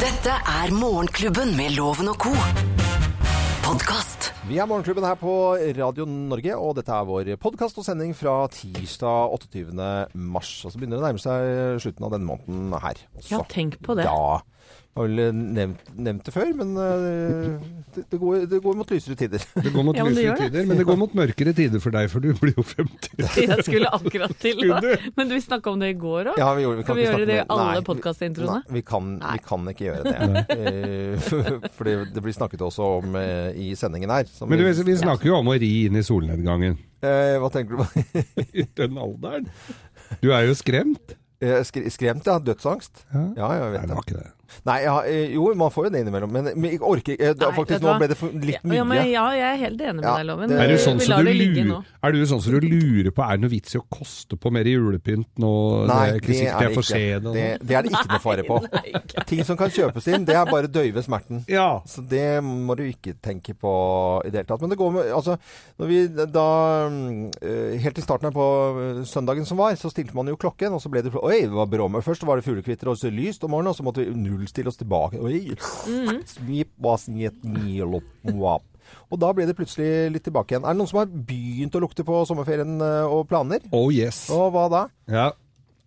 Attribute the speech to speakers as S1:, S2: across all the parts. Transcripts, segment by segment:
S1: Dette er Morgenklubben med Loven og Co. Podkast.
S2: Vi er Morgenklubben her på Radio Norge, og dette er vår podkast og sending fra tirsdag 28. mars. Og så begynner det å nærme seg eh, slutten av denne måneden her også.
S3: Ja, tenk på det.
S2: Ja. Jeg har vel eh, nevnt, nevnt det før, men eh, det, det, går, det går mot lysere tider.
S4: Det går mot
S3: Ja, men det
S4: lysere
S3: gjør det.
S4: tider, men det går mot mørkere tider for deg, for du blir jo 50.
S3: Jeg skulle akkurat til
S4: Skulle
S3: det.
S4: du?
S3: Men vi snakka om det i går òg.
S2: Ja, vi gjorde-
S3: Skal vi
S2: ikke
S3: gjøre
S2: snakke
S3: det i
S2: om
S3: alle
S2: Nei,
S3: podcastintroene?
S2: Nei, vi kan,
S3: Nei.
S2: vi kan ikke gjøre det. Eh, For det- det blir snakket også om eh, i sendingen her. som
S4: Men du,
S2: vi-
S4: vi snakker jo om å ri inn i solnedgangen.
S2: Eh, Hva tenker du på?
S4: I den alderen. Du er jo skremt.
S2: Eh, skre- Skremt, ja. Dødsangst.
S4: Ja.
S2: Ja, jeg
S4: Nei,
S2: vet
S4: det
S2: det.
S4: var ikke det.
S2: Nei, ja, eh, jo, man får jo det innimellom, men men jeg orker ikke eh, da-
S3: Nei, vet
S2: Faktisk,
S3: du
S2: nå
S3: hva?
S2: ble det for litt mye.
S3: Ja, men ja, jeg er helt enig med
S2: Ja,
S3: deg, Loven.
S2: det-
S4: Er du
S2: Eh,
S4: sånn
S3: vi
S4: som
S3: lar
S4: du
S3: det ligge
S4: lurer,
S3: nå.
S4: er du sånn som du lurer på er det noe vits i å koste på mer julepynt nå?
S2: Nei,
S4: det er eh, ikke sikkert jeg får se det. og
S2: Det,
S4: sånn.
S2: det er det ikke noe fare på.
S3: Nei, ikke.
S2: Ting som kan kjøpes inn, det er bare å døyve smerten.
S4: Ja.
S2: Så det må du ikke tenke på i det hele tatt. Men det går med Altså, når vi da mm, eh, Helt i starten her på eh, søndagen som var, så stilte man jo klokken, og så ble det Oi, det var bråmø. Først var det fuglekvitter og så lyst om morgenen, og så måtte vi nullstille oss tilbake. Oi. Smip, was, niet, niel, opp, wap. Og da ble det plutselig litt tilbake igjen. Er det noen som har begynt å lukte på sommerferien eh, og planer?
S4: Oh yes.
S2: Og hva da?
S4: Ja.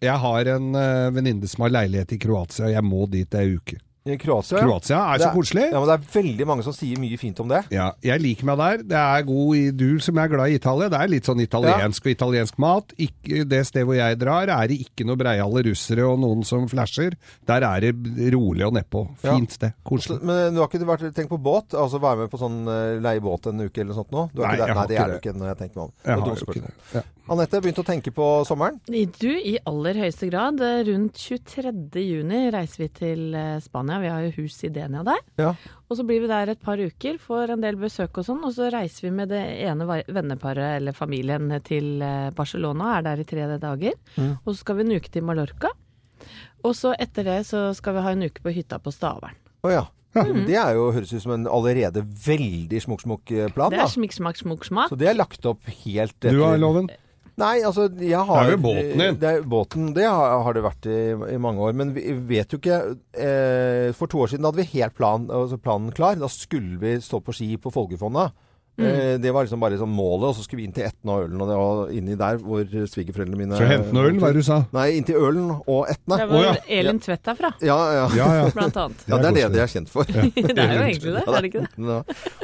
S4: Jeg har en eh, venninne som har leilighet i Kroatia, og jeg må dit ei uke.
S2: I Kroatia? ja.
S4: Kroatia er så
S2: Det
S4: koselig.
S2: Ja, men det er veldig mange som sier mye fint om det.
S4: Ja, jeg liker meg der. Det er god i du som er glad i Italia. Det er litt sånn italiensk og italiensk mat. Ikke, det stedet hvor jeg drar, er det ikke noe breiale russere og noen som flasher. Der er det rolig og nedpå.
S2: Ja.
S4: Fint sted.
S2: Så,
S4: Koselig.
S2: men eh, du har ikke vært, tenkt på båt? Altså være med på sånn eh, leie båt en uke eller sånt nå? Du
S4: Nei,
S2: ikke det?
S4: jeg
S2: Nei,
S4: har
S2: det
S4: ikke
S2: er du
S4: det.
S2: ikke når jeg tenker meg om. Og
S4: Jeg har
S2: dumt
S4: jo ikke
S2: spørsmål.
S4: det. Ja.
S2: Anette, begynte å tenke på sommeren?
S3: Nei, Du, i aller høyeste grad. eh, Rundt 23. juni reiser vi til eh, Spania. Vi har jo hus i Denia der.
S2: Ja.
S3: Og så blir vi der et par uker, får en del besøk og sånn. Og så reiser vi med det ene va- venneparet eller familien til eh, Barcelona, er der i tre dager.
S2: Mm.
S3: Og så skal vi en uke til Mallorca. Og så etter det så skal vi ha en uke på hytta på Stavern.
S2: Å ja. Mm. Det er jo, høres ut som en allerede veldig smokk-smokk plan,
S3: Det
S2: da.
S3: er smikk, smakk, smokk, smak.
S2: Så det er lagt opp helt eh,
S4: Du har loven?
S2: Nei, altså jeg har
S4: Det er jo båten din.
S2: Det, er, båten, det har, har det vært i, i mange år. Men vi vet jo ikke eh, For to år siden hadde vi helt plan, altså planen klar. Da skulle vi stå på ski på Folgefonna.
S3: Mm.
S2: Eh, det var liksom bare liksom målet, og så skulle vi inn til Etna og Ølen. Og det var inni der hvor svigerforeldrene mine
S4: Så hente noe øl, hva er det du sa?
S2: Nei, inn til Ølen og Etne.
S3: Det
S4: Å,
S3: var
S4: ja.
S3: Elin Tvedt herfra,
S2: Ja, ja.
S4: Ja, ja.
S3: blant annet.
S2: ja, det er det
S4: koselig.
S2: de er kjent for.
S3: Det er jo egentlig det, er det ikke det?
S2: Ja.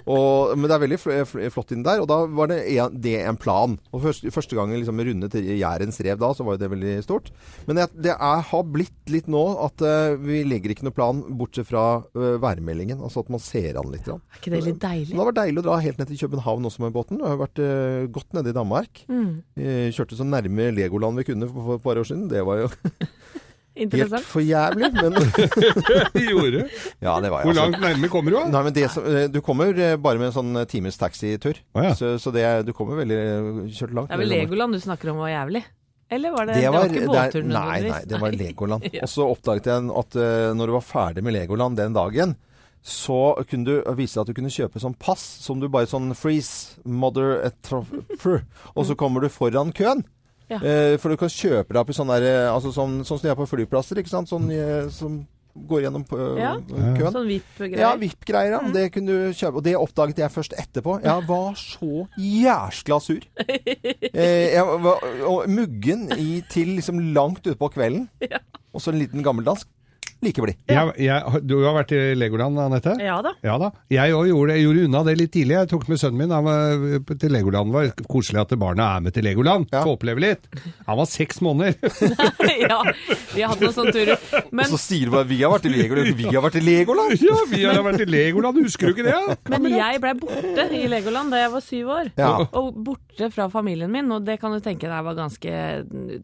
S2: Og, men det er veldig fl- fl- flott inn der, og da var det en, det en plan. Og første, første gangen liksom rundet Jærens rev da, så var jo det veldig stort. Men jeg, det er, har blitt litt nå at eh, vi legger ikke noe plan bortsett fra eh, værmeldingen. Altså at man ser an litt. grann.
S3: Er ikke det litt
S2: Men
S3: deilig?
S2: det har vært deilig å dra helt ned til København også med båten. Jeg har vært eh, godt nede i Danmark.
S3: Mm.
S2: Eh, kjørte så nærme Legoland vi kunne for, for et par år siden. Det var jo helt
S3: Interessant.
S2: for jævlig, men
S4: Gjorde.
S2: Ja, det var jeg,
S4: Hvor
S2: altså.
S4: langt nærme kommer du? da?
S2: Nei, men det som, eh, Du kommer eh, bare med en sånn eh, times taxitur.
S4: Å, ja.
S2: Så, så det, du kommer veldig eh, kjørt langt.
S3: Det er vel Legoland du snakker om var jævlig? Eller var det,
S2: Det var,
S3: ikke
S2: det er-
S3: båtturen
S2: nei, nei, det var
S3: Nei.
S2: Legoland.
S3: Ja.
S2: Og så oppdaget jeg en- at eh, når du var ferdig med Legoland den dagen, så kunne du vise deg at du kunne kjøpe sånn pass som du bare sånn freeze, mother et tra- fru, og så kommer du foran køen.
S3: Ja.
S2: Eh, For du kan kjøpe deg opp i sånn der eh, altså sånn, sånn som de er på flyplasser, ikke sant? Sånn eh, som går gjennom eh,
S3: Ja.
S2: køen.
S3: Sånn VIP-greier. Mm.
S2: Ja, VIP-greier. ja. Det kunne du kjøpe. Og det oppdaget jeg først etterpå. Jeg var så jæskla sur. Eh, Jeg var og muggen i, til liksom langt utpå kvelden. Og så en liten gammeldansk. Like blid.
S4: Jeg, jeg, du har vært i Legoland, Anette?
S3: Ja da.
S4: Ja da. Jeg òg gjorde, det. Jeg gjorde unna det litt tidlig. Jeg tok med sønnen min han var på- til Legoland. Det var koselig at barna er med til Legoland.
S2: Ja.
S4: Få oppleve litt. Han var seks måneder.
S3: ja, vi har hatt noen sånne turer.
S2: Og
S3: Men,
S2: så sier du bare 'vi har vært i Legoland'. Vi har vært i Legoland!
S4: Ja, vi har vært i Legoland. Husker du ikke det? ja?
S3: men jeg blei borte i Legoland da jeg var syv år.
S2: Ja.
S3: Og borte fra familien min, og det kan du tenke deg var ganske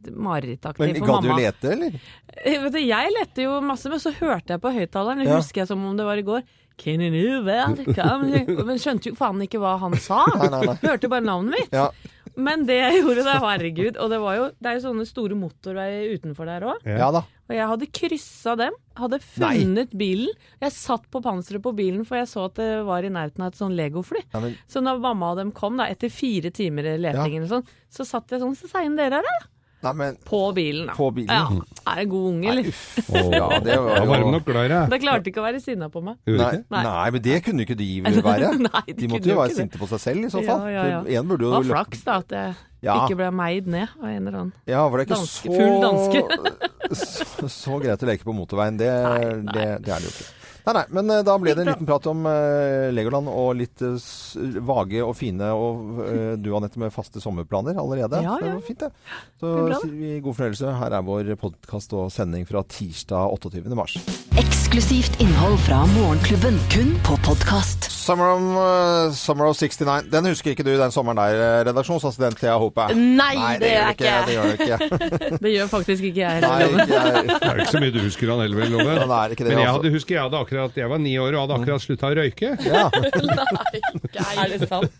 S3: marerittaktig
S2: Men
S3: for
S2: gadd du
S3: mamma.
S2: lete, eller?
S3: Eh, Vet du, jeg lette jo masse, men så hørte jeg på høyttaleren, det
S2: Ja.
S3: husker jeg som om det var i går. Can you welcome you?» Men skjønte jo faen ikke hva han sa.
S2: nei, nei.
S3: Hørte bare navnet mitt.
S2: Ja.
S3: Men det jeg gjorde da, herregud. Og det, var jo, det er jo sånne store motorveier utenfor der òg.
S2: ja da.
S3: Og jeg hadde kryssa dem, hadde funnet bilen. Jeg satt på panseret på bilen, for jeg så at det var i nærheten av et sånn legofly.
S2: Ja, men-
S3: Så når mamma og dem kom, da, etter fire timer i
S2: Ja.
S3: leting, eller sånn, så satt jeg sånn Så seien dere her, da.
S2: Nei, men
S3: På bilen, da.
S2: På bilen.
S3: Ja. Er jeg god unge,
S2: nei,
S3: eller?
S2: uff. Ja, det var
S4: Jeg var varm
S2: jo
S4: nok glad i deg.
S3: Det klarte ikke å være sinna på meg.
S4: Gjorde du
S2: Nei,
S4: ikke?
S3: Nei.
S2: nei, men det kunne ikke de være.
S3: Nei, de
S2: de måtte
S3: kunne
S2: jo
S3: jo
S2: være
S3: ikke det.
S2: sinte på seg selv i så
S3: Ja,
S2: fall.
S3: ja, ja.
S2: For En burde
S3: Det
S2: jo
S3: var
S2: løpt-
S3: flaks da at jeg
S2: Ja.
S3: ikke ble meid ned av en eller annen.
S2: Ja, var det ikke
S3: Danske- full
S2: så, så, så greit å leke på motorveien. Det,
S3: Nei, nei.
S2: Det, det er det jo ikke. Nei, nei, men eh, da ble det en liten prat om eh, Legoland og litt eh, s- vage og fine og eh, du Anette med faste sommerplaner allerede.
S3: Ja,
S2: Så det
S3: ja.
S2: var fint, det. Så
S3: blir bra, det.
S2: sier vi god fornøyelse. Her er vår podkast og sending fra tirsdag 28. mars.
S1: Eksklusivt innhold fra Morgenklubben, kun på podkast.
S2: Summer of, eh, Summer of 69. Den husker ikke du, den sommeren der, eh, redaksjonsassistent Thea Hope?
S5: Nei, det
S2: gjør du
S5: gjør
S2: ikke.
S5: jeg
S2: Det gjør du ikke.
S3: Det gjør faktisk ikke jeg
S2: Nei,
S3: heller. Loven.
S2: ikke jeg.
S4: Det er jo ikke så mye du husker han heller, vel, Love.
S2: Ja, det er ikke det,
S4: Men jeg
S2: altså.
S4: hadde, husker jeg hadde akkurat Jeg var ni år og hadde akkurat slutta å røyke.
S2: Ja.
S3: Er det sant?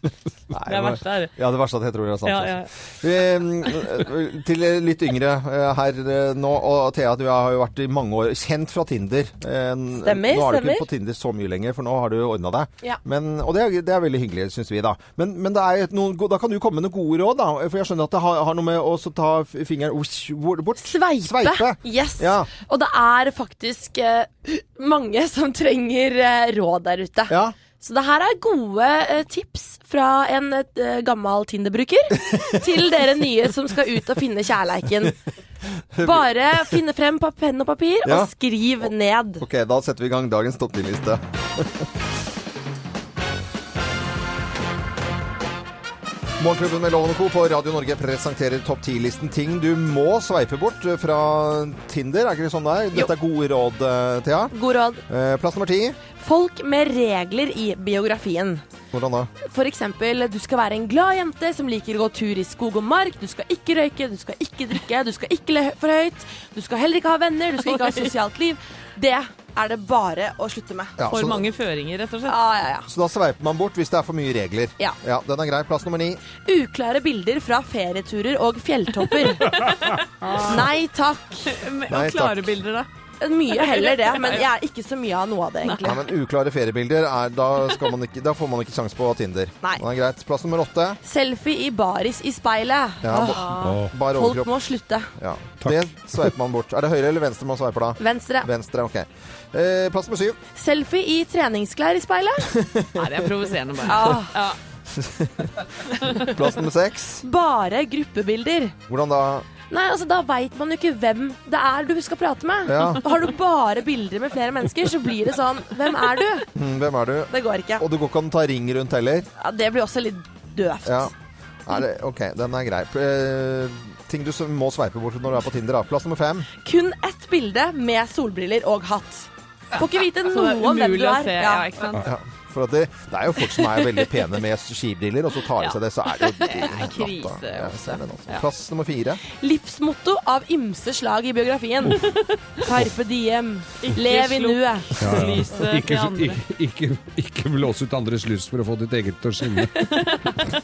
S2: Nei,
S3: Det er verst, det er det.
S2: Ja, det verste at jeg tror det er sant.
S3: Ja, ja.
S2: altså. Eh, til litt yngre eh, her eh, nå, og Thea, du har jo vært i mange år kjent fra Tinder. Stemmer,
S5: Stemmer,
S2: Nå er du
S5: stemmer.
S2: ikke på Tinder så mye lenger, for nå har du ordna deg.
S5: Ja.
S2: Men, og det er, det er veldig hyggelig, syns vi, da. Men, men det er et noen, go- da kan du komme med noen gode råd, da. For jeg skjønner at det har, har noe med å så ta f- fingeren usch, hvor- bort.
S5: Sveipe.
S2: Sveipe.
S5: Yes.
S2: Ja.
S5: Og det er faktisk eh, mange som trenger eh, råd der ute.
S2: Ja.
S5: Så det her er gode eh, tips fra en eh, gammel Tinder-bruker til dere nye som skal ut og finne kjærleiken. Bare finne frem pa- penn og papir
S2: Ja.
S5: og skriv ned.
S2: Ok, da setter vi i gang dagens topp 10-liste. Morgenklubben med Loven og Co. på Radio Norge presenterer topp 10-listen ting du må sveipe bort eh, fra Tinder. Er ikke det sånn det er? Dette er gode råd, eh, Thea.
S5: God råd.
S2: Eh, Plass nummer ti.
S5: Folk med regler i biografien.
S2: Hvordan da?
S5: For eksempel, du skal være en glad jente som liker å gå tur i skog og mark. Du skal ikke røyke, du skal ikke drikke, du skal ikke le for høyt. Du skal heller ikke ha venner, du skal ikke ha sosialt liv. Det er det bare å slutte med.
S2: Ja,
S3: For
S2: så,
S3: mange føringer, rett og slett.
S5: Ja, ja, ja.
S2: så da sveiper man bort hvis det er for mye regler.
S5: Ja.
S2: Den er grei. Plass nummer ni.
S5: Uklare bilder fra ferieturer og fjelltopper. Nei takk.
S3: Men-
S2: Nei,
S3: Og klare
S2: takk.
S3: bilder, da.
S5: Mye heller det, men jeg er ikke så mye av noe av det,
S2: Nei,
S5: egentlig.
S2: men Uklare feriebilder, er, da, skal man ikke, da får man ikke sjanse på Tinder.
S5: Nei.
S2: Den er greit. Plass nummer åtte.
S5: Selfie i baris i speilet.
S2: Ja,
S5: Åh,
S4: Åh.
S2: Bare
S5: Folk
S2: overkropp.
S5: må slutte.
S2: Ja. Det sveiper man bort. Er det høyre eller venstre man sveiper da?
S5: Venstre.
S2: Venstre, ok. Eh, plass nummer syv.
S5: Selfie i treningsklær i speilet.
S3: Nei, det er provoserende, bare.
S5: Ah,
S3: Ja.
S2: Plass nummer seks.
S5: bare gruppebilder.
S2: Hvordan da?
S5: Nei, altså Da veit man jo ikke hvem det er du skal prate med.
S2: Ja.
S5: Har du bare bilder med flere mennesker, så blir det sånn Hvem er du?
S2: Hm, hvem er du?
S5: Det går ikke.
S2: Og det går ikke an å ta ring rundt heller.
S5: Ja, det blir også litt døvt.
S2: Ja. Er det, ok, den er grei. Eh, ting du som må sveipe bort når du er på Tinder. Da. Plass nummer fem.
S5: Kun ett bilde med solbriller og hatt. Får ikke vite
S3: Så
S5: noe
S3: det er
S5: om hvem du
S3: umulig å
S5: er.
S3: se. Ja, ikke sant?
S2: Ja. For at det, det er jo folk som er veldig pene med skibriller, og så tar de seg det, så er det jo
S3: er krise
S2: natta. Ja, jeg ser det nå.
S3: Ja.
S2: Plass nummer fire.
S5: Livsmotto av ymse slag i biografien. Carpe diem. Lev i
S3: slå-
S5: nuet.
S3: Lyset
S4: Ikke,
S3: til andre.
S4: ikke, ikke, ikke blås ut andres lys for å få ditt eget til å skinne.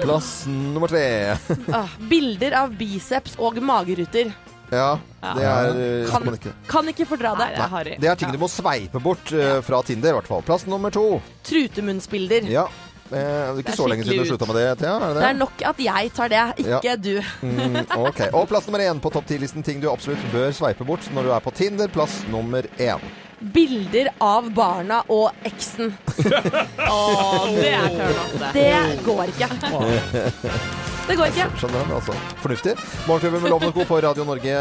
S2: Plass nummer tre.
S5: Ah, bilder av biceps og mageruter.
S2: Ja, det er eh,
S5: Kan-
S2: man ikke.
S5: Kan ikke fordra
S3: Nei,
S5: det.
S3: det er harry.
S2: Det er ting du må sveipe bort eh, fra Tinder, i hvert fall. Plass nummer to.
S5: Trutemunnsbilder.
S2: Ja. Eh, det er ikke
S3: Det er
S2: så lenge siden du
S3: skikkelig ut.
S2: slutta med det, Thea? Er det
S5: Det er nok at jeg tar det, ikke du.
S2: Mm, ok. Og plass nummer én på topp ti-listen ting du absolutt bør sveipe bort når du er på Tinder. Plass nummer én.
S5: Bilder av barna og eksen.
S3: Å, det er turn-off, det.
S5: Det går ikke. Det går ikke.
S2: Skjønner den, altså. Fornuftig. Morgenklubben med Loven og Co. på Radio Norge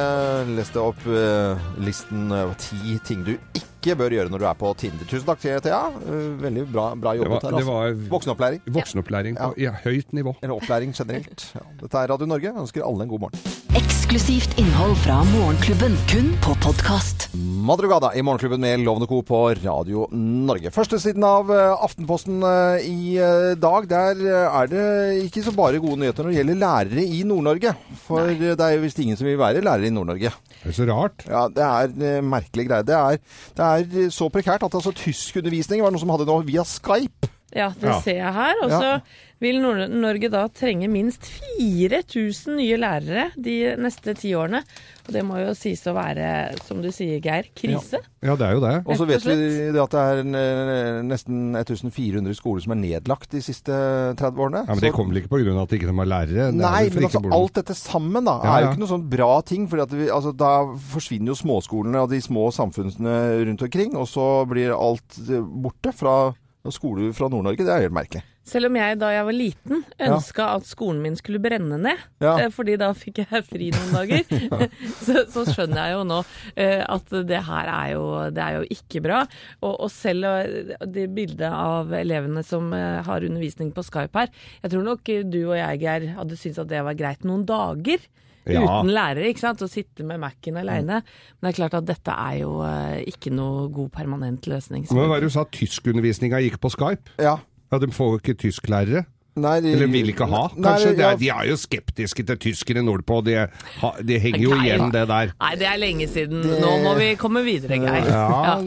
S2: leste opp eh, listen eh, ti ting du ikke bør gjøre når du er på Tinder. Tusen takk, til Thea. Eh, veldig bra, bra
S4: Det
S2: jobbet
S4: var,
S2: her.
S4: det
S2: Altså.
S4: var
S2: Voksenopplæring.
S4: voksenopplæring på ja, høyt nivå.
S2: Eller opplæring generelt. Ja. Dette er Radio Norge. Jeg ønsker alle en god morgen.
S1: Eksklusivt innhold fra Morgenklubben, kun på podkast.
S2: Madrugada i Morgenklubben med Lovende Co. på Radio Norge. Førstesiden av eh, Aftenposten eh, i eh, dag, der eh, er det ikke så bare gode nyheter når det gjelder lærere i Nord-Norge. For eh, det er jo visst ingen som vil være lærer i Nord-Merke.
S4: Det er så rart.
S2: Ja, det er eh, merkelige greier. Det er, det er så prekært at altså, tyskundervisning var noe som hadde nå via Skype.
S3: Ja, det
S4: Ja.
S3: ser jeg her. Og så
S2: Ja.
S3: vil Nord-Norge da trenge minst 4000 nye lærere de neste ti årene. Og det må jo sies å være, som du sier, Geir, krise.
S4: Ja, det er jo det.
S2: Og så
S3: Rett
S2: vet
S3: og
S2: vi det at det er eh, nesten 1400 skoler som er nedlagt de siste 30 årene.
S4: Ja, men det
S2: Så-
S4: kommer vel ikke på grunn av at ikke de har lærere? Det er
S2: Nei,
S4: vel for
S2: men
S4: ikke
S2: altså
S4: bor-
S2: alt dette sammen da,
S4: Ja,
S2: er jo
S4: ja.
S2: ikke noe sånn bra ting. For altså, da forsvinner jo småskolene og de små samfunnene rundt omkring, og så blir alt eh, borte fra skoler fra Nord-Norge. Det er helt merkelig.
S3: Selv om jeg da jeg var liten ønska at skolen min skulle brenne ned,
S2: Ja.
S3: eh, fordi da fikk jeg fri noen dager, så, så skjønner jeg jo nå eh, at det her er jo, det er jo ikke bra. Og, og selv eh, det bildet av elevene som eh, har undervisning på Skype her, jeg tror nok eh, du og jeg, Geir, hadde syntes at det var greit noen dager.
S4: Ja.
S3: Uten lærere, ikke sant. Å sitte med Mac-en aleine. Men det er klart at dette er jo eh, ikke noe god permanent løsning.
S4: Men Hva var det du sa, tyskundervisninga gikk på Skype?
S2: Ja.
S4: Ja, De får jo ikke tysklærere.
S2: Nei, de,
S4: Eller vil ikke ha,
S2: Nei,
S4: kanskje. de,
S2: ja,
S4: er, de er jo skeptiske til tyskere nordpå. De, ha, de henger jo
S3: Geir.
S4: igjen, det der.
S3: Nei, det er lenge siden. Nå må vi komme videre, Geir.
S4: Ja.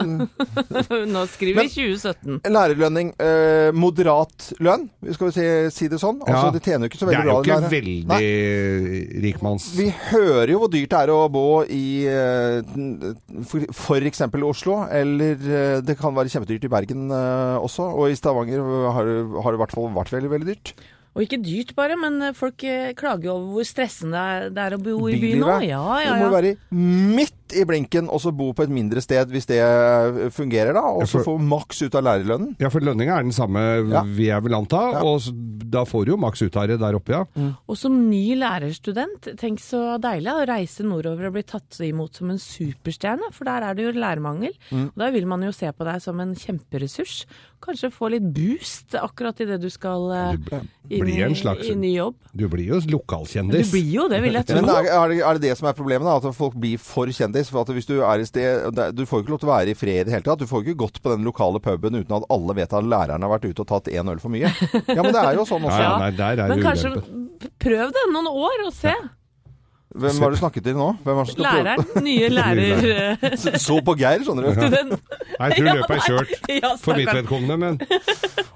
S3: Nå skriver vi 2017.
S2: Lærerlønning. Eh, moderat lønn, skal vi si, si det sånn. Altså,
S4: Ja.
S2: De tjener jo ikke så
S4: Det
S2: veldig
S4: er jo
S2: bra. de
S4: ikke
S2: lærerne. Nei.
S4: veldig rikmanns...
S2: Vi hører jo hvor dyrt det er å bo i eh, for- for eksempel Oslo, eller eh, det kan være kjempedyrt i Bergen eh, også. Og i Stavanger har, det- har det i hvert fall vært veldig, veldig dyrt.
S3: Og ikke dyrt bare, men folk eh, klager jo over hvor stressende det er- det er å bo i by nå.
S2: Billivet.
S3: Ja,
S2: Du må
S3: ja, ja.
S2: være midt i blinken og så bo på et mindre sted hvis det eh, fungerer, da. Og så
S4: Ja,
S2: få
S4: for-
S2: maks ut av lærerlønnen.
S4: Ja, for lønninga er den samme,
S2: Ja.
S4: vil jeg vel anta.
S2: Ja. Mm.
S4: Og s- da får du jo maks ut av det der oppe, ja.
S3: Og som ny lærerstudent, tenk så deilig å reise nordover og bli tatt imot som en superstjerne, for der er det jo lærermangel. Og da vil man jo se på deg som en kjemperessurs. Kanskje få litt boost akkurat idet du skal eh,
S4: Du b-
S3: inn,
S4: blir en slags
S3: i ny jobb.
S4: Du blir jo
S3: Du
S4: lokalkjendis.
S3: blir jo det, vil jeg
S2: Men
S3: tro.
S2: er, er, det, er det det som er problemet, da? At folk blir for kjendis? For at hvis du er i sted det- Du får ikke lov til å være i fred i det hele tatt. Du får ikke gått på den lokale puben uten at alle vet at læreren har vært ute og tatt én øl for mye. Ja, men det er jo sånn
S4: Ja,
S2: også.
S4: ja, nei, der er
S3: Men
S4: det
S3: kanskje
S4: ulempe.
S3: p- prøv det noen år og se.
S2: Hvem var det du snakket til nå? Hvem var det som skal prøve?
S3: Læreren. Nye lærer...
S2: Så- Så på Geir, skjønner du.
S3: Den-
S4: Nei, jeg tror
S3: Ja,
S4: løpet er
S3: nei.
S4: kjørt.
S3: Ja,
S4: For mitt
S3: stakkars.
S4: vedkommende, men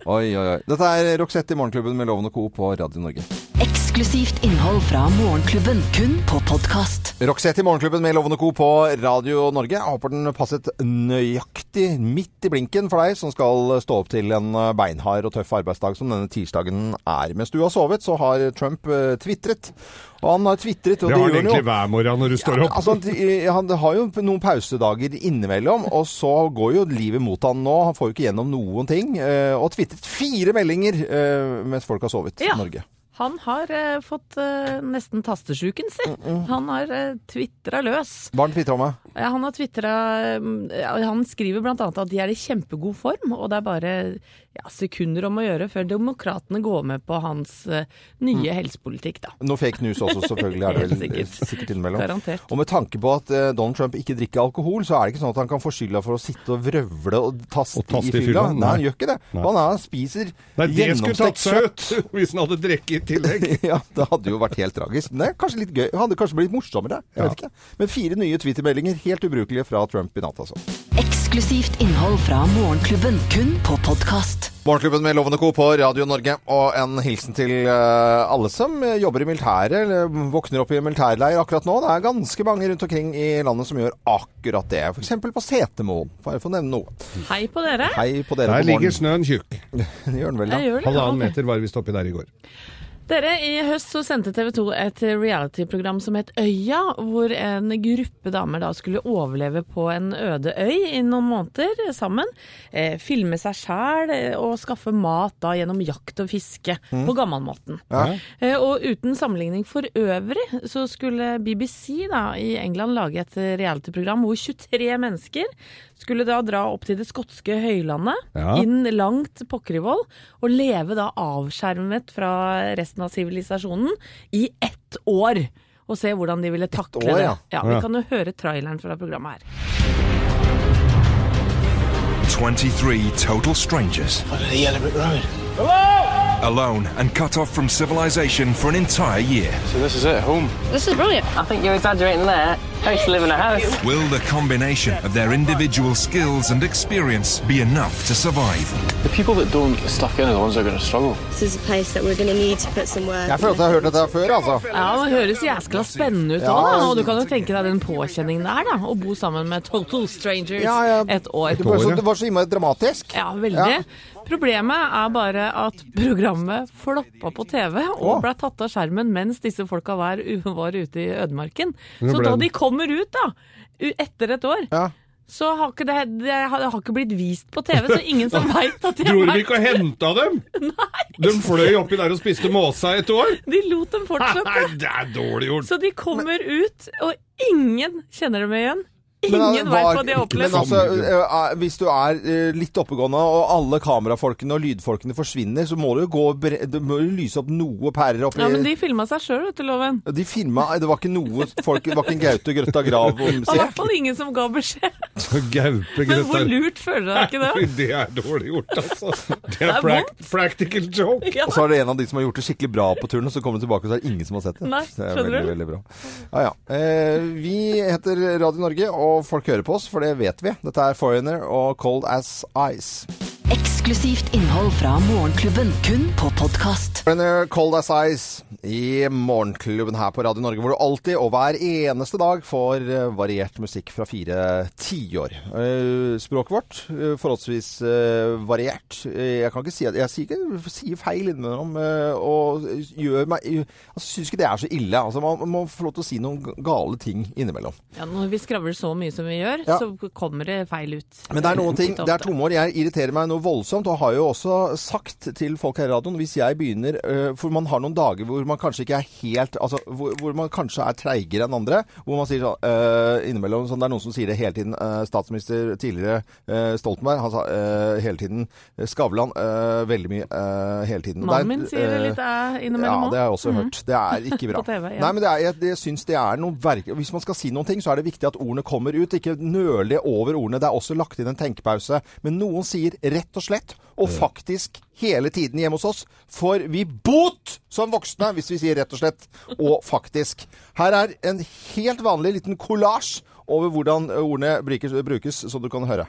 S2: Oi, oi, oi. Dette er Roxette i Morgenklubben med Loven og Co. på Radio Norge.
S1: Eksklusivt innhold fra Morgenklubben, kun på podkast.
S2: Roxette i Morgenklubben med Loven og Co. på Radio Norge. Jeg håper den passet nøyaktig midt i blinken for deg som skal stå opp til en beinhard og tøff arbeidsdag som denne tirsdagen er. Mens du har sovet, så har Trump eh, tvitret. Og han har tvitret, og
S4: det
S2: det
S4: har han
S2: gjør han jo.
S4: egentlig hver morgen når du står opp.
S2: Altså, han, eh, han har jo noen pausedager innimellom, og så går jo livet mot han nå. Han får jo ikke gjennom noen ting. eh, Og har tvitret fire meldinger eh, mens folk har sovet
S3: Ja.
S2: i Norge.
S3: Han har eh, fått eh, nesten tastesjuken sin. Han har uh, tvitra løs.
S2: Hva har han tvitra om? da?
S3: Ja, han har tvitra Han skriver bl.a. at de er i kjempegod form, og det er bare ja, sekunder om å gjøre før demokratene går med på hans eh, nye helsepolitikk, da.
S2: Noe fake news også, selvfølgelig. er det
S3: Helt
S2: vel, eh,
S3: sikkert.
S2: sikkert innimellom.
S3: Garantert.
S2: Og med tanke på at eh, Donald Trump ikke drikker alkohol, så er det ikke sånn at han kan få skylda for å sitte og vrøvle og taste,
S4: Og taste
S2: i fylla. Nei, han
S4: nei.
S2: gjør ikke det.
S4: Nei.
S2: Han, er, han spiser
S4: Nei, det skulle
S2: gjennomstekt
S4: tatt seg
S2: kjøtt.
S4: ut hvis han hadde drukket i tillegg.
S2: Ja, det hadde jo vært helt tragisk. Men det er kanskje litt gøy. Det hadde kanskje blitt morsommere. Jeg vet ikke. Men fire nye Twitter-meldinger, helt ubrukelige fra Trump i natt, altså.
S1: Eksklusivt innhold fra Morgenklubben, kun på podkast.
S2: Morgenklubben med Lovende Co. på Radio Norge, og en hilsen til eh, alle som eh, jobber i militæret, eller eh, våkner opp i militærleir akkurat nå. Det er ganske mange rundt omkring i landet som gjør akkurat det. F.eks. på Setermoen, bare for å nevne noe.
S3: Hei på dere!
S2: Hei på dere
S4: Der
S2: på
S4: ligger
S2: morgenen.
S4: snøen tjukk.
S2: Det gjør den vel,
S3: Jeg
S2: da.
S3: gjør det. ja,
S4: Halvannen
S3: ok.
S4: meter var visst oppi der i går.
S3: Dere, i høst så sendte TV 2 et reality-program som het Øya, hvor en gruppe damer da skulle overleve på en øde øy i noen måneder sammen. Eh, filme seg sjæl eh, og skaffe mat da gjennom jakt og fiske på gammalmåten.
S2: Ja.
S3: Eh, Og uten sammenligning for øvrig så skulle BBC da, i England lage et reality-program hvor 23 mennesker skulle da dra opp til det skotske høylandet,
S4: Ja.
S3: inn langt pokker i vold, og leve da avskjermet fra resten av sivilisasjonen i ett år. Og se hvordan de ville takle
S2: år,
S3: det.
S2: ja.
S3: Ja, vi kan jo høre traileren fra programmet her.
S6: 23 total strangers,
S7: The Yellow Brick Road.
S6: alone and cut off from civilization for an entire year.
S7: So this is it, home.
S8: This is brilliant. I think you're exaggerating there.
S7: I used to live in a house.
S6: Will the combination of their individual skills and experience be enough to survive?
S7: The people that don't stuck in are the ones that are going to struggle.
S8: This is a place that we're going to need to put some work.
S2: Jeg føler at jeg har hørt dette her før, altså.
S3: Ja, Det høres jæskla spennende ut òg, da. Og du kan jo tenke deg den påkjenningen det er, da. Å bo sammen med total strangers
S2: Ja, ja.
S3: et år.
S2: Det var så, det var så innmari dramatisk.
S3: Ja, veldig. Problemet er bare at programmet floppa på TV og
S2: Å.
S3: ble tatt av skjermen mens disse folka var, var ute i ødemarken.
S4: Nå
S3: Så
S4: ble
S3: da
S4: den-
S3: de kommer ut, da, u- etter et år,
S2: Ja.
S3: så har ikke det, det har, det har ikke blitt vist på TV, så ingen som veit at det har
S4: Tror du vi ikke
S3: vært
S4: har henta dem? De fløy oppi der og spiste måsa et år?
S3: De lot dem fortsette.
S4: Nei, det er dårlig gjort.
S3: Så de kommer ut, og ingen kjenner dem igjen.
S2: Men,
S3: Ingen
S2: eh,
S3: veit
S2: var-
S3: hva de har
S2: Men
S3: opplevd.
S2: altså, eh, eh, hvis du er eh, litt oppegående, og alle kamerafolkene og lydfolkene forsvinner, så må du jo gå og bre- du må jo lyse opp noe pærer oppi
S3: Ja, men de filma seg sjøl, vet du, Loven.
S2: De filma Det var ikke noe folk Det var ikke en Gaute Grøtta Grav om
S3: Det var i
S2: seg.
S3: hvert fall ingen som ga beskjed.
S4: Gaupe,
S3: Men hvor
S4: Grøtta.
S3: lurt føler du deg ikke det?
S4: Det er dårlig gjort, altså. Det
S3: er
S4: er prac- practical joke.
S2: Og så er det en av de som har gjort det skikkelig bra på turen, og så kommer du tilbake, og så er det ingen som har sett det.
S3: Nei,
S2: det er
S3: skjønner
S2: veldig,
S3: du?
S2: veldig bra. Ja, ja. Eh, vi heter Radio Norge, og folk hører på oss, for det vet vi. Dette er Foreigner og Cold As Ice.
S1: Eksklusivt innhold fra Morgenklubben, kun på podkast.
S2: Foreigner, eh, Cold As Ice i morgenklubben her på Radio Norge, hvor du alltid og hver eneste dag får eh, variert musikk fra fire tiår. Eh, Språket vårt eh, forholdsvis eh, variert. Eh, Jeg kan ikke si at Jeg sier, ikke, sier feil innimellom eh, og gjør meg Jeg altså, syns ikke det er så ille. Altså, man må få lov til å si noen gale ting innimellom.
S3: Ja, når vi skravler så mye som vi gjør,
S2: Ja.
S3: så kommer det feil ut.
S2: Men det er noen ting,
S3: Litt
S2: det er
S3: ofte.
S2: tomår. Jeg irriterer meg noe voldsomt, og har jo også sagt til folk her i radioen hvis jeg begynner øh, For man har noen dager hvor man kanskje ikke er helt Altså hvor, hvor man kanskje er treigere enn andre. Hvor man sier sånn øh, innimellom sånn, Det er noen som sier det hele tiden. øh, statsminister tidligere øh, Stoltenberg, han sa øh, hele tiden øh, Skavlan øh, veldig mye øh, hele tiden. Det er-
S3: Mannen min sier det
S2: øh,
S3: litt eh,
S2: ja,
S3: innimellom
S2: det
S3: òg.
S2: har jeg også hørt. Det er ikke bra.
S3: På TV, ja.
S2: Nei, men det er, jeg, jeg syns det er noe verk... Hvis man skal si noen ting, så er det viktig at ordene kommer ut. Ikke nøle over ordene. Det er også lagt inn en tenkepause. Men noen sier rett og slett, og faktisk hele tiden hjemme hos oss, får vi bot som voksne hvis vi sier rett og slett og faktisk. Her er en helt vanlig liten kollasj over hvordan ordene brukes, brukes som du kan høre.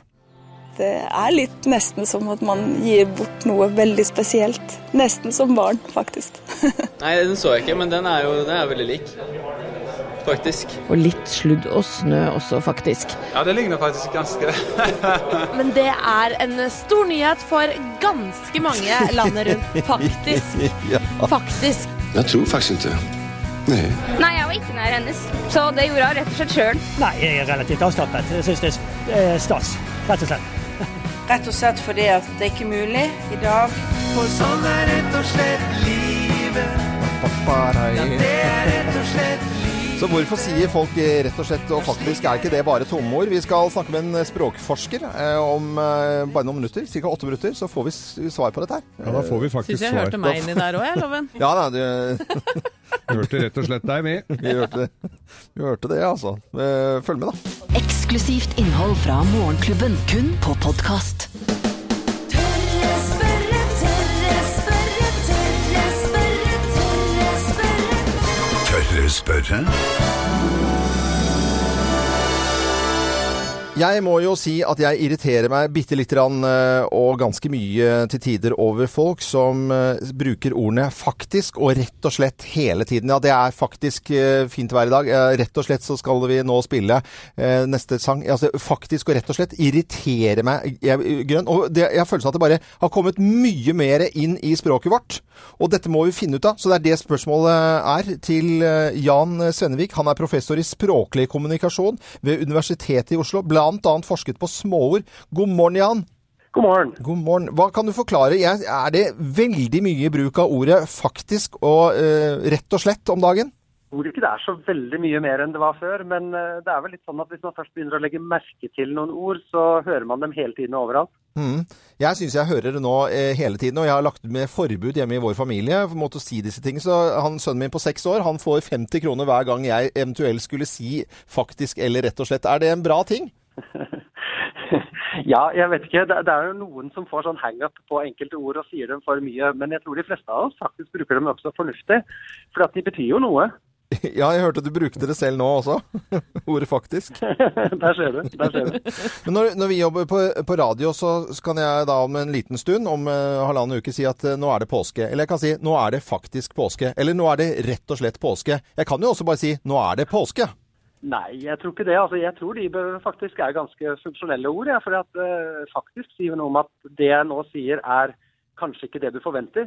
S9: Det er litt nesten som at man gir bort noe veldig spesielt. Nesten som barn, faktisk.
S10: Nei, den så jeg ikke, men den er jo den er veldig lik. Faktisk.
S3: Og litt sludd og snø også, faktisk.
S10: Ja, det ligner faktisk ganske.
S5: Men det er en stor nyhet for ganske mange landet rundt. Faktisk. Faktisk.
S11: Jeg tror faktisk ikke. Nei.
S8: Nei, jeg var ikke nær hennes, så det gjorde jeg rett og slett sjøl.
S7: Nei, jeg er relativt avslappet. Jeg synes det er stas, rett og slett.
S9: Rett og slett fordi at det er ikke mulig i dag.
S2: Så hvorfor sier folk eh, rett og slett og faktisk er ikke det bare tomord? Vi skal snakke med en språkforsker eh, om eh, bare noen minutter, ca. åtte minutter, så får vi s- svar på dette her.
S4: Ja, da får vi faktisk
S3: Syns jeg
S4: svar.
S3: hørte meg inni der òg, jeg, Loven.
S2: Ja, nei, du,
S4: Hørte rett og slett deg, vi.
S2: vi, hørte, vi hørte det, altså. Eh, Følg med, da.
S1: Eksklusivt innhold fra Morgenklubben, kun på podkast.
S6: Tørre spørre?
S2: Jeg må jo si at jeg irriterer meg bitte lite grann eh, og ganske mye til tider over folk som eh, bruker ordene faktisk og rett og slett hele tiden. Ja, det er faktisk eh, fint vær i dag. Eh, Rett og slett så skal vi nå spille eh, neste sang. Altså faktisk og rett og slett irriterer meg jeg, grønn. Og det, jeg har følelsen av at det bare har kommet mye mer inn i språket vårt. Og dette må vi finne ut av. Så det er det spørsmålet er til eh, Jan Svennevik. Han er professor i språklig kommunikasjon ved Universitetet i Oslo. Blant annet forsket på småord. God morgen, Jan.
S7: God morgen.
S2: God morgen. Hva kan du forklare? Jeg, er det veldig mye bruk av ordet faktisk og eh, rett og slett om dagen?
S7: Jeg tror ikke det er så veldig mye mer enn det var før, men eh, det er vel litt sånn at hvis man først begynner å legge merke til noen ord, så hører man dem hele tiden og overalt.
S2: Mm. Jeg syns jeg hører det nå eh, hele tiden, og jeg har lagt med forbud hjemme i vår familie mot å si disse tingene. Så han, sønnen min på seks år han får 50 kroner hver gang jeg eventuelt skulle si faktisk eller rett og slett. Er det en bra ting?
S7: ja, jeg vet ikke. Det, det er jo noen som får sånn hang-up på enkelte ord og sier dem for mye, men jeg tror de fleste av oss faktisk bruker dem nokså fornuftig, for at de betyr jo noe.
S2: Ja, jeg hørte du brukte det selv nå også. Ordet faktisk.
S7: Der ser du. Der ser du.
S2: Men når, når vi jobber på, på radio, så kan jeg da om en liten stund, om eh, halvannen uke, si at eh, nå er det påske. Eller jeg kan si nå er det faktisk påske. Eller nå er det rett og slett påske. Jeg kan jo også bare si nå er det påske.
S7: Nei, jeg tror ikke det. Altså, jeg tror de bør faktisk er ganske funksjonelle ord. Ja, for at, eh, faktisk sier noe om at det jeg nå sier er kanskje ikke det du forventer.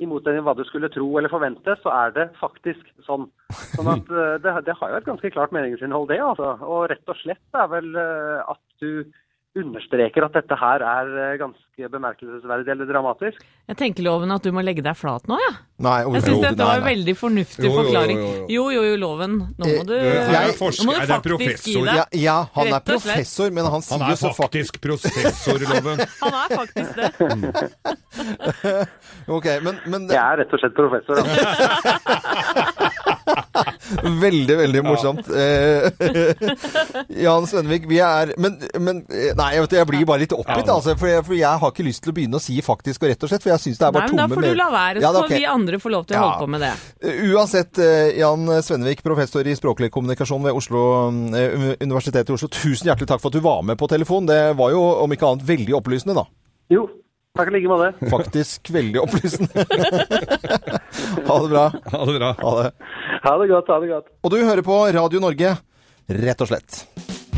S7: I motsetning til hva du skulle tro eller forvente, så er det faktisk sånn. Sånn at eh, det, det har jo et ganske klart meningsinnhold, det. altså. Og rett og slett er vel eh, at du understreker at dette her er eh, ganske bemerkelsesverdig eller dramatisk.
S3: Jeg tenker, Loven, at du må legge deg flat nå, ja.
S2: Nei,
S3: Jeg syns dette var en veldig fornuftig
S2: Jo, jo, jo,
S3: forklaring.
S2: jo,
S3: Jo, jo, jo, Loven. Nå må du,
S2: Eh,
S3: nå
S2: jeg-
S3: må du faktisk gi
S2: Ja,
S3: deg.
S2: ja, han er
S3: Rett og slett.
S2: professor, men han sier
S4: er
S2: jo så faktisk
S4: professorloven.
S3: Han er faktisk det.
S2: Ok, men, men
S7: Jeg er rett og slett professor. Altså.
S2: Veldig, veldig morsomt. Eh, Jan Svenvik, vi er Men, men eh, Nei, jeg, vet, jeg blir bare litt oppgitt,
S4: Ja.
S2: altså. For jeg, for jeg har ikke lyst til å begynne å si faktisk og rett og slett, for jeg syns det er
S3: Nei,
S2: bare
S3: men
S2: tomme
S3: da får du
S2: mer-
S3: la være,
S2: Ja,
S3: så
S2: da,
S3: får
S2: ok.
S3: vi andre få lov til å
S2: Ja.
S3: holde på med det.
S2: Uansett, eh, Jan Svenvik, professor i språklig kommunikasjon ved Oslo, eh, Universitetet i Oslo, tusen hjertelig takk for at du var med på telefon. Det var jo, om ikke annet, veldig opplysende, da.
S7: Jo, takk i like måte.
S2: Faktisk veldig opplysende. ha det bra.
S4: Ha det bra.
S2: Ha det.
S7: Ha det godt. Ha det godt.
S2: Og du hører på Radio Norge, rett og slett.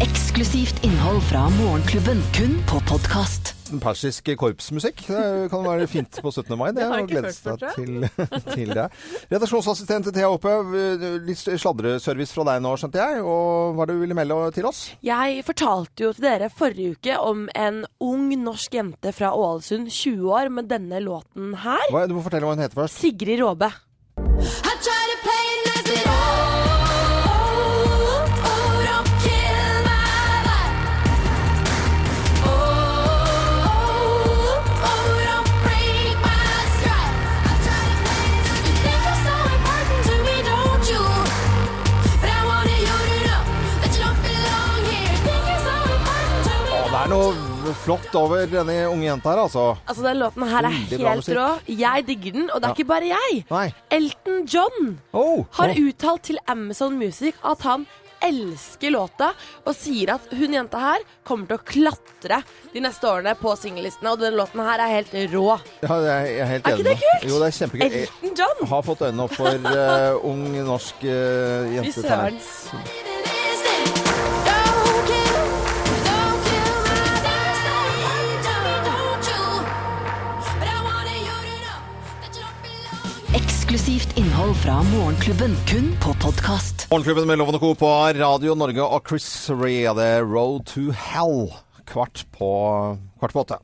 S1: Eksklusivt innhold fra Morgenklubben, kun på podkast.
S2: Persisk korpsmusikk. Det kan være fint på 17. mai. Det,
S1: Det har jeg
S2: å
S1: ikke
S2: glede
S1: hørt
S2: seg til, til det. Redaksjonsassistent Thea Ophaug, litt sladreservice fra deg nå, skjønte jeg. Og hva du ville melde til oss?
S5: Jeg fortalte jo til dere forrige uke om en ung norsk jente fra Ålesund, 20 år, med denne låten her.
S2: Hva, du må fortelle hva hun heter først.
S5: Sigrid Råbe.
S2: Ja, det er noe flott over denne unge jenta her, altså.
S5: Altså, den låten her er
S2: Veldig bra
S5: helt
S2: musikk.
S5: rå. Jeg digger den, og det er
S2: Ja.
S5: ikke bare jeg.
S2: Nei.
S5: Elton John
S2: Oh,
S5: har
S2: oh.
S5: uttalt til Amazon Music at han elsker låta, og sier at hun jenta her kommer til å klatre de neste årene på singellistene, og den låten her er helt rå.
S2: Ja, det er, jeg er helt
S5: Er
S2: enig
S5: ikke
S2: med
S5: det
S2: deg.
S5: kult?
S2: Jo, det er kjempekult.
S5: Elton John!
S2: Jeg har fått øynene opp for eh, ung norsk uh,
S5: Fy
S2: jente.
S5: søren.
S1: Eksklusivt innhold fra Morgenklubben, kun på podkast.
S2: Morgenklubben med Loven og Co. på Radio Norge og Chris Rea, det er Road to Hell. Kvart på, kvart på åtte.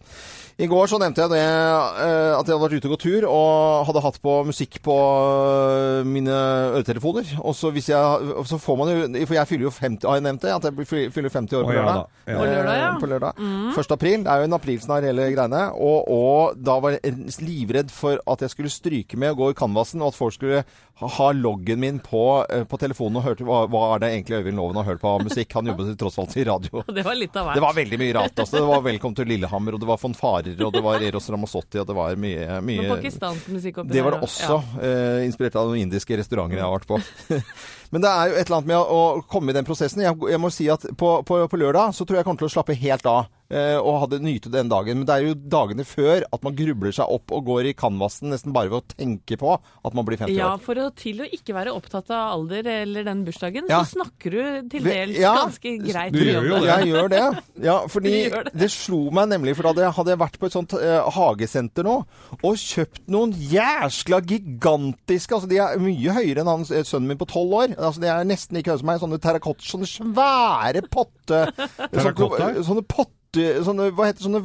S2: I går så nevnte jeg det, eh, at jeg hadde vært ute og gått tur og hadde hatt på musikk på eh, mine øretelefoner. Og så hvis jeg, og så får man jo, for jeg fyller jo 50, har jeg nevnt det? At jeg blir- fyller 50 år
S4: Å,
S2: på
S4: ja
S2: lørdag.
S4: da. Ja.
S2: Eh,
S4: På
S3: lørdag, ja. Mm.
S2: På lørdag. 1. april, det er jo en aprilsnarr hele greiene. Og, og da var jeg livredd for at jeg skulle stryke med og gå i canvasen, og at folk skulle ha ha loggen min på, eh, på telefonen og hørte hva, hva er det egentlig Øyvind Loven har hørt på av musikk. Han jobbet tross alt i radio.
S3: Og det var litt av
S2: Det var
S3: hvert.
S2: veldig mye rart. Altså. Det var 'Velkommen til Lillehammer', og det var fanfarer, og det var Eros Ramazzotti, og det var mye,
S3: Med
S2: mye
S3: pakistansk musikk oppi
S2: det var
S3: der,
S2: det
S3: ja.
S2: også, eh, inspirert av noen indiske restauranter jeg har vært på. Men det er jo et eller annet med å, å komme i den prosessen. Jeg, jeg må si at på, på, på lørdag så tror jeg jeg kommer til å slappe helt av. eh, Og hadde nyte den dagen. Men det er jo dagene før at man grubler seg opp og går i canvasen nesten bare ved å tenke på at man blir 50
S3: Ja,
S2: år.
S3: for å til å ikke være opptatt av alder eller den bursdagen,
S2: Ja.
S3: så snakker du til
S2: Vi-
S3: dels
S2: ja.
S3: ganske greit.
S4: Du gjør jo
S3: om
S4: det.
S2: Jeg gjør det. Ja, fordi
S3: Du gjør
S2: det.
S3: det.
S2: slo meg nemlig, for da hadde jeg, hadde jeg vært på et sånt eh, hagesenter nå og kjøpt noen jæskla gigantiske Altså, de er mye høyere enn han, eh, sønnen min på tolv år. Altså, De er nesten like høye som meg. Sånne terrakotta, sånne svære potte... sånn
S4: Terrakotta?
S2: Sånne, sånne potte... Sånne, hva heter sånne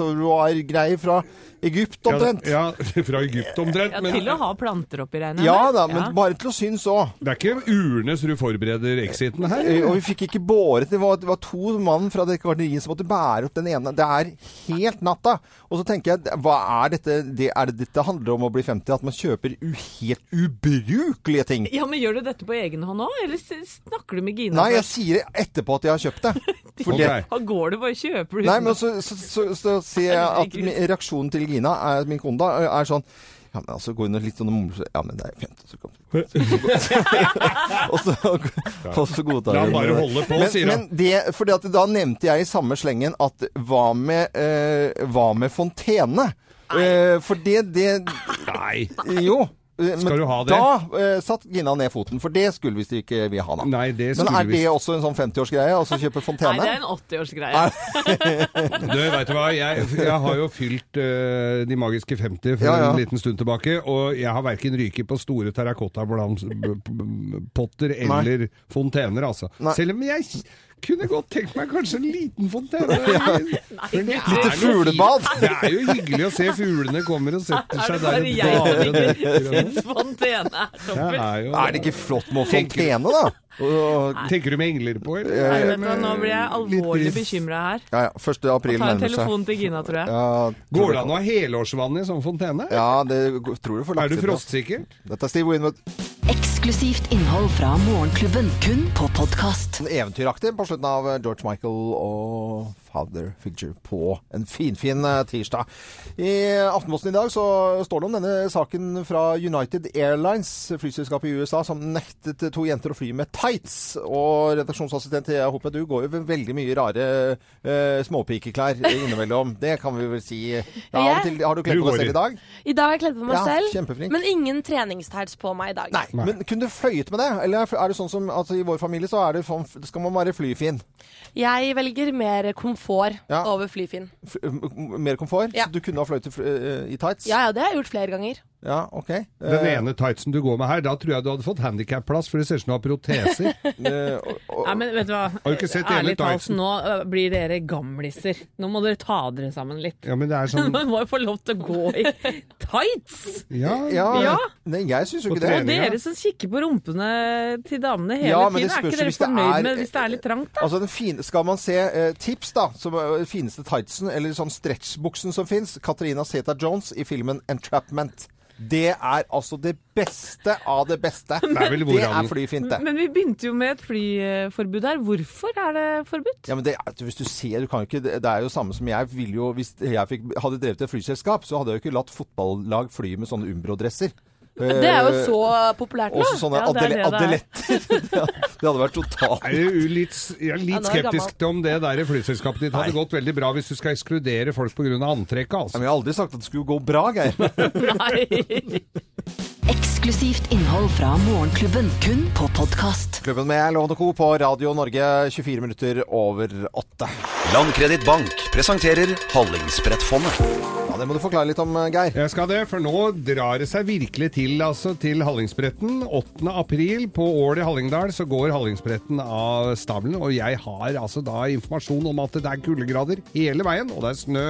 S2: vannreservoargreier fra Egypt omtrent?
S4: Ja, ja, fra Egypt omtrent.
S3: Ja,
S4: Men
S3: til å ha planter oppi regnet.
S2: Ja da, men bare til å synes òg.
S4: det er ikke urnes du forbereder exiten her.
S2: Eh, Og vi fikk ikke båret Det var, det var to mann fra det kvarteriet som måtte bære opp den ene. Det er helt natta. Og så tenker jeg, hva er dette det, Er det dette handler om å bli 50? At man kjøper u helt ubrukelige ting?
S3: Ja, men gjør du dette på egen hånd òg, eller s- snakker du med Gina?
S2: Nei, jeg
S3: først?
S2: sier det etterpå at jeg har kjøpt det. For
S4: Ok.
S2: det-
S3: Da går du bare og kjøper uten
S2: Nei, men så, så, så, så ser jeg at
S3: Herregud.
S2: min- reaksjonen til Gina, er, min kone, da, er sånn Ja, men altså, gå inn og litt sånn og mumle Ja, men det er fint. Så kan og så, og så godtar
S4: La han
S2: hun
S4: bare
S2: det.
S4: holde på,
S2: men,
S4: sier han.
S2: Men det, fordi at da nevnte jeg i samme slengen at hva med, eh, hva med Fontene? Eh, for det, det
S4: Nei.
S2: Jo. eh,
S4: Skal
S2: men
S4: du ha det?
S2: Da eh, satt Gina ned foten, for det skulle visst ikke vi ha, da.
S4: Nei, det
S2: men
S4: skulle
S2: er det
S4: visst-
S2: også en sånn 50-årsgreie? Altså kjøpe fontene?
S3: Nei, det er en 80-årsgreie.
S4: Du, vet du hva? Jeg, jeg har jo fylt eh, de magiske 50 for
S2: Ja, ja.
S4: en liten stund tilbake, og jeg har verken ryket på store terrakottapotter eller fontener, altså.
S2: Nei.
S4: Selv om jeg kunne godt tenkt meg kanskje en liten fontene. Men det
S2: Lite
S4: er noe
S2: fuglebad.
S4: fint. Det er jo hyggelig å se fuglene kommer og setter
S3: Er det
S4: seg
S3: bare
S4: der
S3: jeg som
S4: og
S3: ikke
S4: bader.
S3: syns fontene er
S4: Det
S3: toppen?
S4: er jo-
S2: Er det ikke flott med
S4: Tenker-
S2: fontene, da? Og,
S4: Tenker du med engler på, eller?
S3: Nei,
S4: Er
S3: vet
S4: det
S3: du hva,
S4: med
S3: nå blir jeg
S4: litt
S3: alvorlig
S4: lys?
S3: bekymra her.
S2: ja, ja, 1. april
S3: Ta en
S2: nærmer seg.
S3: telefon til Gina, tror jeg.
S2: Ja,
S4: Går det an å ha helårsvann i sånn fontene?
S2: Ja, det g- tror du får
S4: Er
S2: lagt
S4: du
S2: inn, ja.
S4: frostsikker?
S2: Dette er Steve Winwood.
S1: Eksklusivt innhold fra Morgenklubben, kun på podkast.
S2: Eventyraktig på slutten av eh, George Michael og Father Figure på en finfin fin eh, tirsdag. I Aftenposten i dag så står det om denne saken fra United Airlines, flyselskapet i USA, som nektet to jenter å fly med tights. Og redaksjonsassistent Thea Hoppe, du går jo ved veldig mye rare eh, småpikeklær innimellom. Det kan vi vel si. Ja, av og til, har du kledd
S4: Du
S2: på
S4: går
S2: deg
S4: i.
S2: selv i dag?
S5: I dag har jeg kledd på meg
S2: Ja,
S5: selv,
S2: kjempeflink.
S5: men ingen treningstights på meg i dag.
S2: Nei. Men kunne du fløyet med det? Eller er det sånn som altså, I vår familie så er det sånn, skal man være flyfin.
S5: Jeg velger mer komfort
S2: Ja.
S5: over flyfinn.
S2: F m- mer komfort.
S5: Ja.
S2: Så du kunne ha fløyet i fl- eh, i tights?
S5: Ja, ja, det har jeg gjort flere ganger.
S2: Ja, ok. Eh,
S4: Den ene tightsen du går med her, da tror jeg du hadde fått handikapplass, for det ser ut som du har proteser.
S2: eh, og, og,
S3: Nei, men vet du hva?
S4: Har du ikke sett
S3: Ærlig
S4: Ene
S3: talt,
S4: Tyson?
S3: nå øh, blir dere gamliser. Nå må dere ta dere sammen litt.
S4: Ja, men det er sånn
S3: Man må jo få lov til å gå i tights!
S4: Ja,
S2: ja,
S3: Ja.
S2: Nei, jeg syns jo
S4: Og
S2: ikke det.
S4: trening. Meninga.
S3: Dere som kikker på rumpene til damene hele
S2: Ja, men det
S3: tiden, er
S2: spørs jo
S3: ikke dere
S2: hvis det
S3: fornøyd
S2: er-
S3: med hvis det er litt trangt, da?
S2: Altså den fine, Skal man se eh, tips, da, som eh, fineste tightsen, eller sånn stretchbuksen som fins, Katarina Zeta Jones i filmen 'Entrapment'. Det er altså det beste av det beste. Det
S4: er vel hvordan-
S2: er flyfint, det.
S3: Men vi begynte jo med et flyforbud her. Hvorfor er det forbud?
S2: Ja, men det, er- hvis du ser, du kan jo ikke, det det er jo samme som jeg ville jo, hvis jeg fikk, hadde drevet et flyselskap, så hadde jeg jo ikke latt fotballag fly med sånne Umbro-dresser.
S5: Det er jo så populært
S2: Eh,
S5: nå.
S2: Også sånne
S3: Ja, det er
S2: adele
S3: det det er.
S2: adeletter. det hadde vært totalt
S4: Er du litt, jeg er
S5: Ja,
S4: litt
S5: nå er jeg
S4: skeptisk til om det der flyselskapet ditt hadde gått veldig bra hvis du skal ekskludere folk pga. antrekket.
S2: Nei,
S4: Altså.
S2: men Jeg har aldri sagt at det skulle gå bra, Geir.
S3: Nei.
S1: Eksklusivt innhold fra Morgenklubben, kun på podkast.
S2: Klubben med Loven og Co. på Radio Norge, 24 minutter over åtte.
S12: Landkreditt Bank presenterer Hallingsbrettfondet.
S2: Ja, Det må du forklare litt om, Geir.
S4: Jeg skal det, for nå drar det seg virkelig til altså, til Hallingsbretten. 8. april på Ål i Hallingdal så går Hallingsbretten av stabelen, og jeg har altså da informasjon om at det er kuldegrader hele veien, og det er snø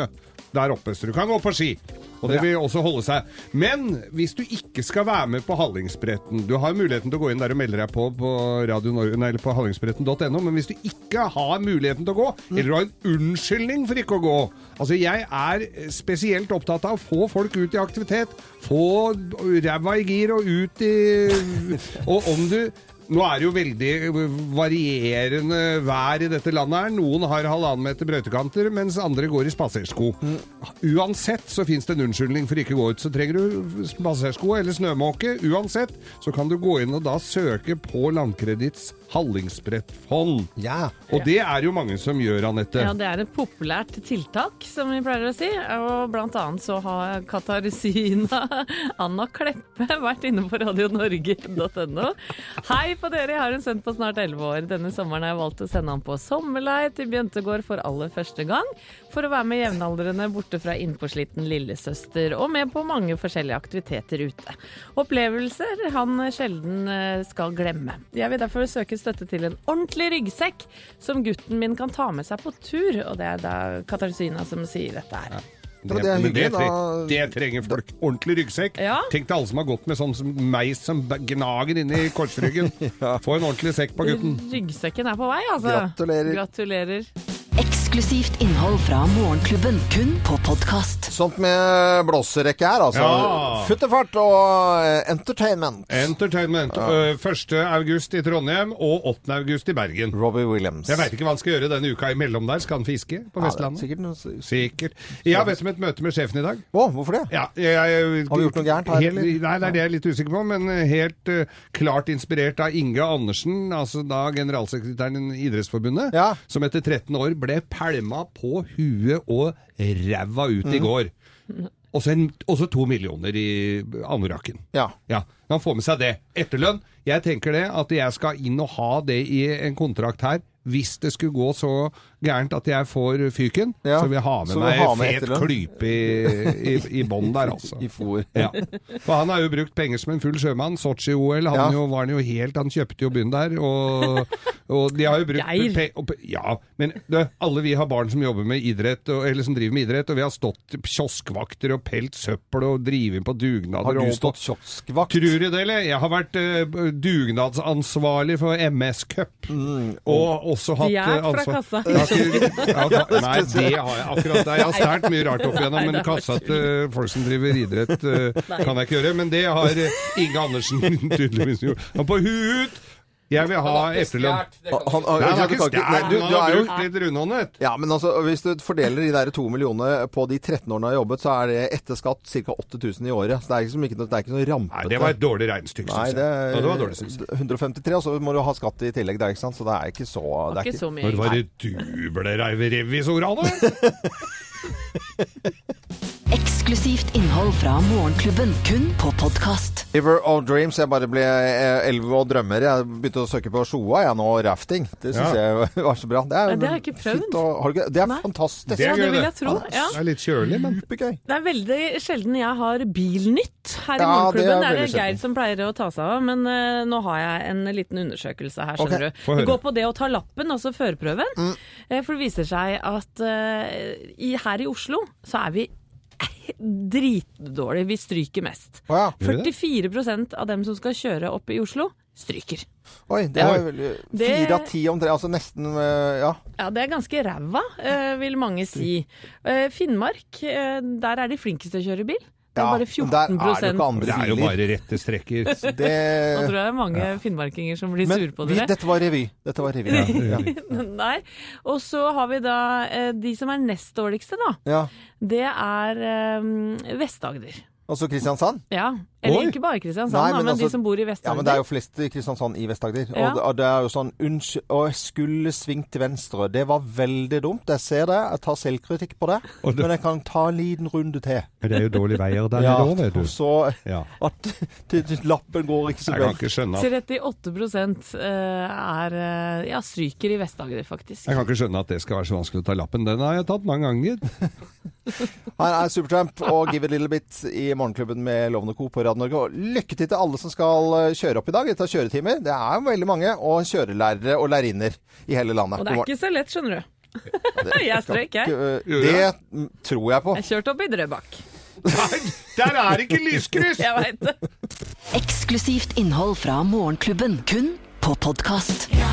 S4: der oppe, så du kan gå på ski. Og det vil også holde seg. Men hvis du ikke skal være med på Hallingsbretten Du har muligheten til å gå inn der og melde deg på på, Radio Norge, nei, eller på hallingsbretten.no, men hvis du ikke har muligheten til å gå, eller du har en unnskyldning for ikke å gå Altså, jeg er spesielt opptatt av å få folk ut i aktivitet. Få ræva i gir og ut i Og om du nå er det jo veldig eh, varierende vær i dette landet her. Noen har halvannen meter brøytekanter, mens andre går i spasersko. Uansett så fins det en unnskyldning for ikke å gå ut. Så trenger du spasersko eller snømåke, uansett, så kan du gå inn og da søke på Landkreditts Hallingsbrettfond.
S2: Ja.
S4: Og det er jo mange som gjør, Anette.
S3: Ja, det er et populært tiltak, som vi pleier å si. Og blant annet så har Katarzyna Anna Kleppe vært inne på radionorge.no. Hei på dere, jeg har en sønn på snart 11 år. Denne sommeren har jeg valgt å sende han på sommerleir til Bjøntegård for aller første gang, for å være med jevnaldrende borte fra innpåsliten lillesøster, og med på mange forskjellige aktiviteter ute. Opplevelser han sjelden eh, skal glemme. Jeg vil derfor søke støtte til en ordentlig ryggsekk som gutten min kan ta med seg på tur, og det er da Katarzyna som sier dette her.
S2: men det er
S4: men det,
S2: hyggelig,
S4: tre-
S2: da-
S4: det trenger folk. Ordentlig ryggsekk.
S3: Ja.
S4: Tenk deg alle som har gått med sånn som meg som gnager inni korsryggen. Få en ordentlig sekk på gutten.
S3: Ryggsekken er på vei, altså.
S2: Gratulerer.
S3: Gratulerer.
S1: Eksklusivt innhold fra Morgenklubben, kun på podkast.
S2: Sånt med blåserekke her, altså.
S4: Ja.
S2: Futtefart og eh, entertainment.
S4: Entertainment.
S2: Ja.
S4: ø, 1. august i Trondheim og 8. august i Bergen.
S2: Robbie Williams.
S4: Jeg veit ikke hva han skal gjøre denne uka imellom der. Skal han fiske på
S2: Ja, det er
S4: Vestlandet?
S2: sikkert
S4: Sikkert. Jeg har bedt om et møte med sjefen i dag.
S2: Å, hvorfor det?
S4: Ja, jeg, jeg,
S2: Har du gjort noe gærent her,
S4: Helt,
S2: eller?
S4: nei, det er det jeg er litt usikker på, men helt eh, klart inspirert av Inge Andersen, altså da generalsekretæren i Idrettsforbundet, som etter 13 år ble pælma på huet og ræva ut i
S13: Mm.
S4: går. Og så en- og så to millioner i anorakken.
S2: Ja.
S4: Han får med seg det. Etterlønn. Jeg tenker det at jeg skal inn og ha det i en kontrakt her. Hvis det skulle gå så gærent at jeg får fyken,
S2: Ja.
S4: så vil jeg ha med
S2: Så vil jeg
S4: meg
S2: ha med
S4: fet
S2: etterlønn.
S4: klype i, i, i bånn der, altså.
S2: I fôr.
S4: Ja. For han har jo brukt penger som en full sjømann. Sotsji-OL, han
S2: Ja.
S4: jo, var han jo helt Han kjøpte jo byen der, og, og de har jo brukt
S2: Geir.
S4: pe- og pe- Ja, men du, alle vi har barn som jobber med idrett, og, eller som driver med idrett, og vi har stått kioskvakter og pelt søppel og drevet på dugnader.
S2: Har du
S4: og-
S2: stått kioskvakt?
S4: Tror du det, eller? Jeg har vært eh, dugnadsansvarlig for MS Cup,
S2: Mm.
S4: og også hatt eh,
S13: Stjert fra
S4: ansvar-
S13: kassa.
S4: Jeg har ikke- jeg har
S13: Ja,
S4: ikke-
S13: det skulle
S4: Nei,
S13: jeg si.
S4: det har jeg akkurat. der. Jeg har stjålet mye rart opp igjennom,
S13: Nei,
S4: men
S13: det har du
S4: kassa til eh, folk som driver idrett, eh,
S13: Nei.
S4: kan jeg ikke gjøre. Men det har eh, Inge Andersen tydeligvis gjort. Og på huet ut! Jeg vil ha etterlønn.
S2: Han, han,
S4: Nei, han har
S2: du kan
S4: ikke
S2: ikke- nei,
S4: stjålet,
S2: du-
S4: men
S2: du
S4: han har
S2: er jo-
S4: brukt litt rundhåndet.
S2: Ja, men altså, hvis du fordeler de der to millionene på de 13 årene du har jobbet, så er det etter skatt ca. 8000 i året. Så det er ikke, som ikke, noe- det er ikke noe rampete.
S4: Nei, det var et dårlig regnestykke,
S2: Nei,
S4: synes jeg.
S2: det,
S4: Ja, det var dårlig, synes
S2: 153, og så må du ha skatt i tillegg der, ikke sant? Så det er ikke så Det
S4: ikke så mye, Når var det du ble revisor av det?
S1: Eksklusivt innhold fra Morgenklubben, kun på podkast.
S2: River of Dreams. Jeg bare ble eh, elleve og drømmer. Jeg begynte å søke på Sjoa jeg nå, og rafting. Det syns jeg var så bra. Det
S3: Ja,
S2: er,
S3: det har jeg ikke prøvd.
S2: fint å- har du ikke- det er fantastisk.
S3: Det er Ja, det gøy, vil det. jeg tro, ja.
S4: Det er litt kjølig, men
S2: Supergøy.
S3: Det er veldig sjelden jeg har bilnytt her i
S2: Ja, det er
S3: Morgenklubben. Det er det
S2: veldig
S3: Geir
S2: sjelden.
S3: som pleier å ta seg av, men eh, nå har jeg en liten undersøkelse her, skjønner
S2: Ok, få
S3: du.
S2: høre. Mm.
S3: Det går på det å ta lappen, altså førerprøven. Eh, For det viser seg at eh, i, her i Oslo så er vi dritdårlige. Vi stryker mest.
S4: Mm.
S2: Gjør vi det?
S3: 44 av dem som skal kjøre opp i Oslo, stryker.
S2: Oi, det er
S3: Oi.
S2: veldig-
S3: Det-
S2: Fire av ti omtrent. Altså nesten eh, Ja.
S3: Ja, det er ganske ræva, eh, vil mange si. Eh, Finnmark, eh, der er de flinkeste til å kjøre bil. Det er
S4: Ja,
S3: bare
S4: men der er det
S3: 14
S4: jo ikke andre Det er jo biler. bare rette strekker.
S3: Nå
S4: Det-
S3: tror jeg mange finnmarkinger som blir sure på
S2: vi,
S3: dere.
S2: dette var revy. Dette var revy. Ja.
S3: Nei. Og så har vi da eh, de som er nest dårligste, da.
S2: Ja.
S3: Det er eh, Vest-Agder.
S2: Altså Kristiansand?
S3: Ja. Eller
S2: Oi.
S3: ikke bare Kristiansand,
S2: Nei,
S3: da, men
S2: altså-
S3: de som bor i Vest-Agder.
S2: Ja, men det er jo flest i Kristiansand i Vest-Agder.
S3: Ja.
S2: Og, det- og det er jo sånn Unnskyld, å, jeg skulle svingt til venstre. Det var veldig dumt. Jeg ser det. Jeg tar selvkritikk på det.
S4: Og det-
S2: Men jeg kan ta en liten runde til.
S4: Men det er jo dårlige veier der
S2: Ja,
S4: nede òg, vet du.
S2: og så
S4: Ja.
S2: at til- til lappen går ikke så
S4: Jeg
S2: vel.
S4: kan ikke skjønne at
S3: 38 eh, er eh, ja, stryker i Vest-Agder, faktisk.
S4: jeg kan ikke skjønne at det skal være så vanskelig å ta lappen. Den har jeg tatt mange ganger.
S2: Her er Supertramp og Give It Little Bit i Morgenklubben med Lovende Co. på Radio Norge. Og lykke til til alle som skal eh, kjøre opp i dag. Det tar kjøretimer. Det er jo veldig mange. Og kjørelærere og lærerinner i hele landet.
S3: Og
S2: God
S3: det er
S2: morgen.
S3: ikke så lett, skjønner du. jeg strøk, jeg.
S2: Ikke, eh, Det mm, tror jeg på.
S3: Jeg kjørte opp i Drøbak.
S4: Der er
S1: ikke lyskryss!
S3: Jeg vet det.
S1: Eksklusivt innhold fra Morgenklubben, kun på podkast.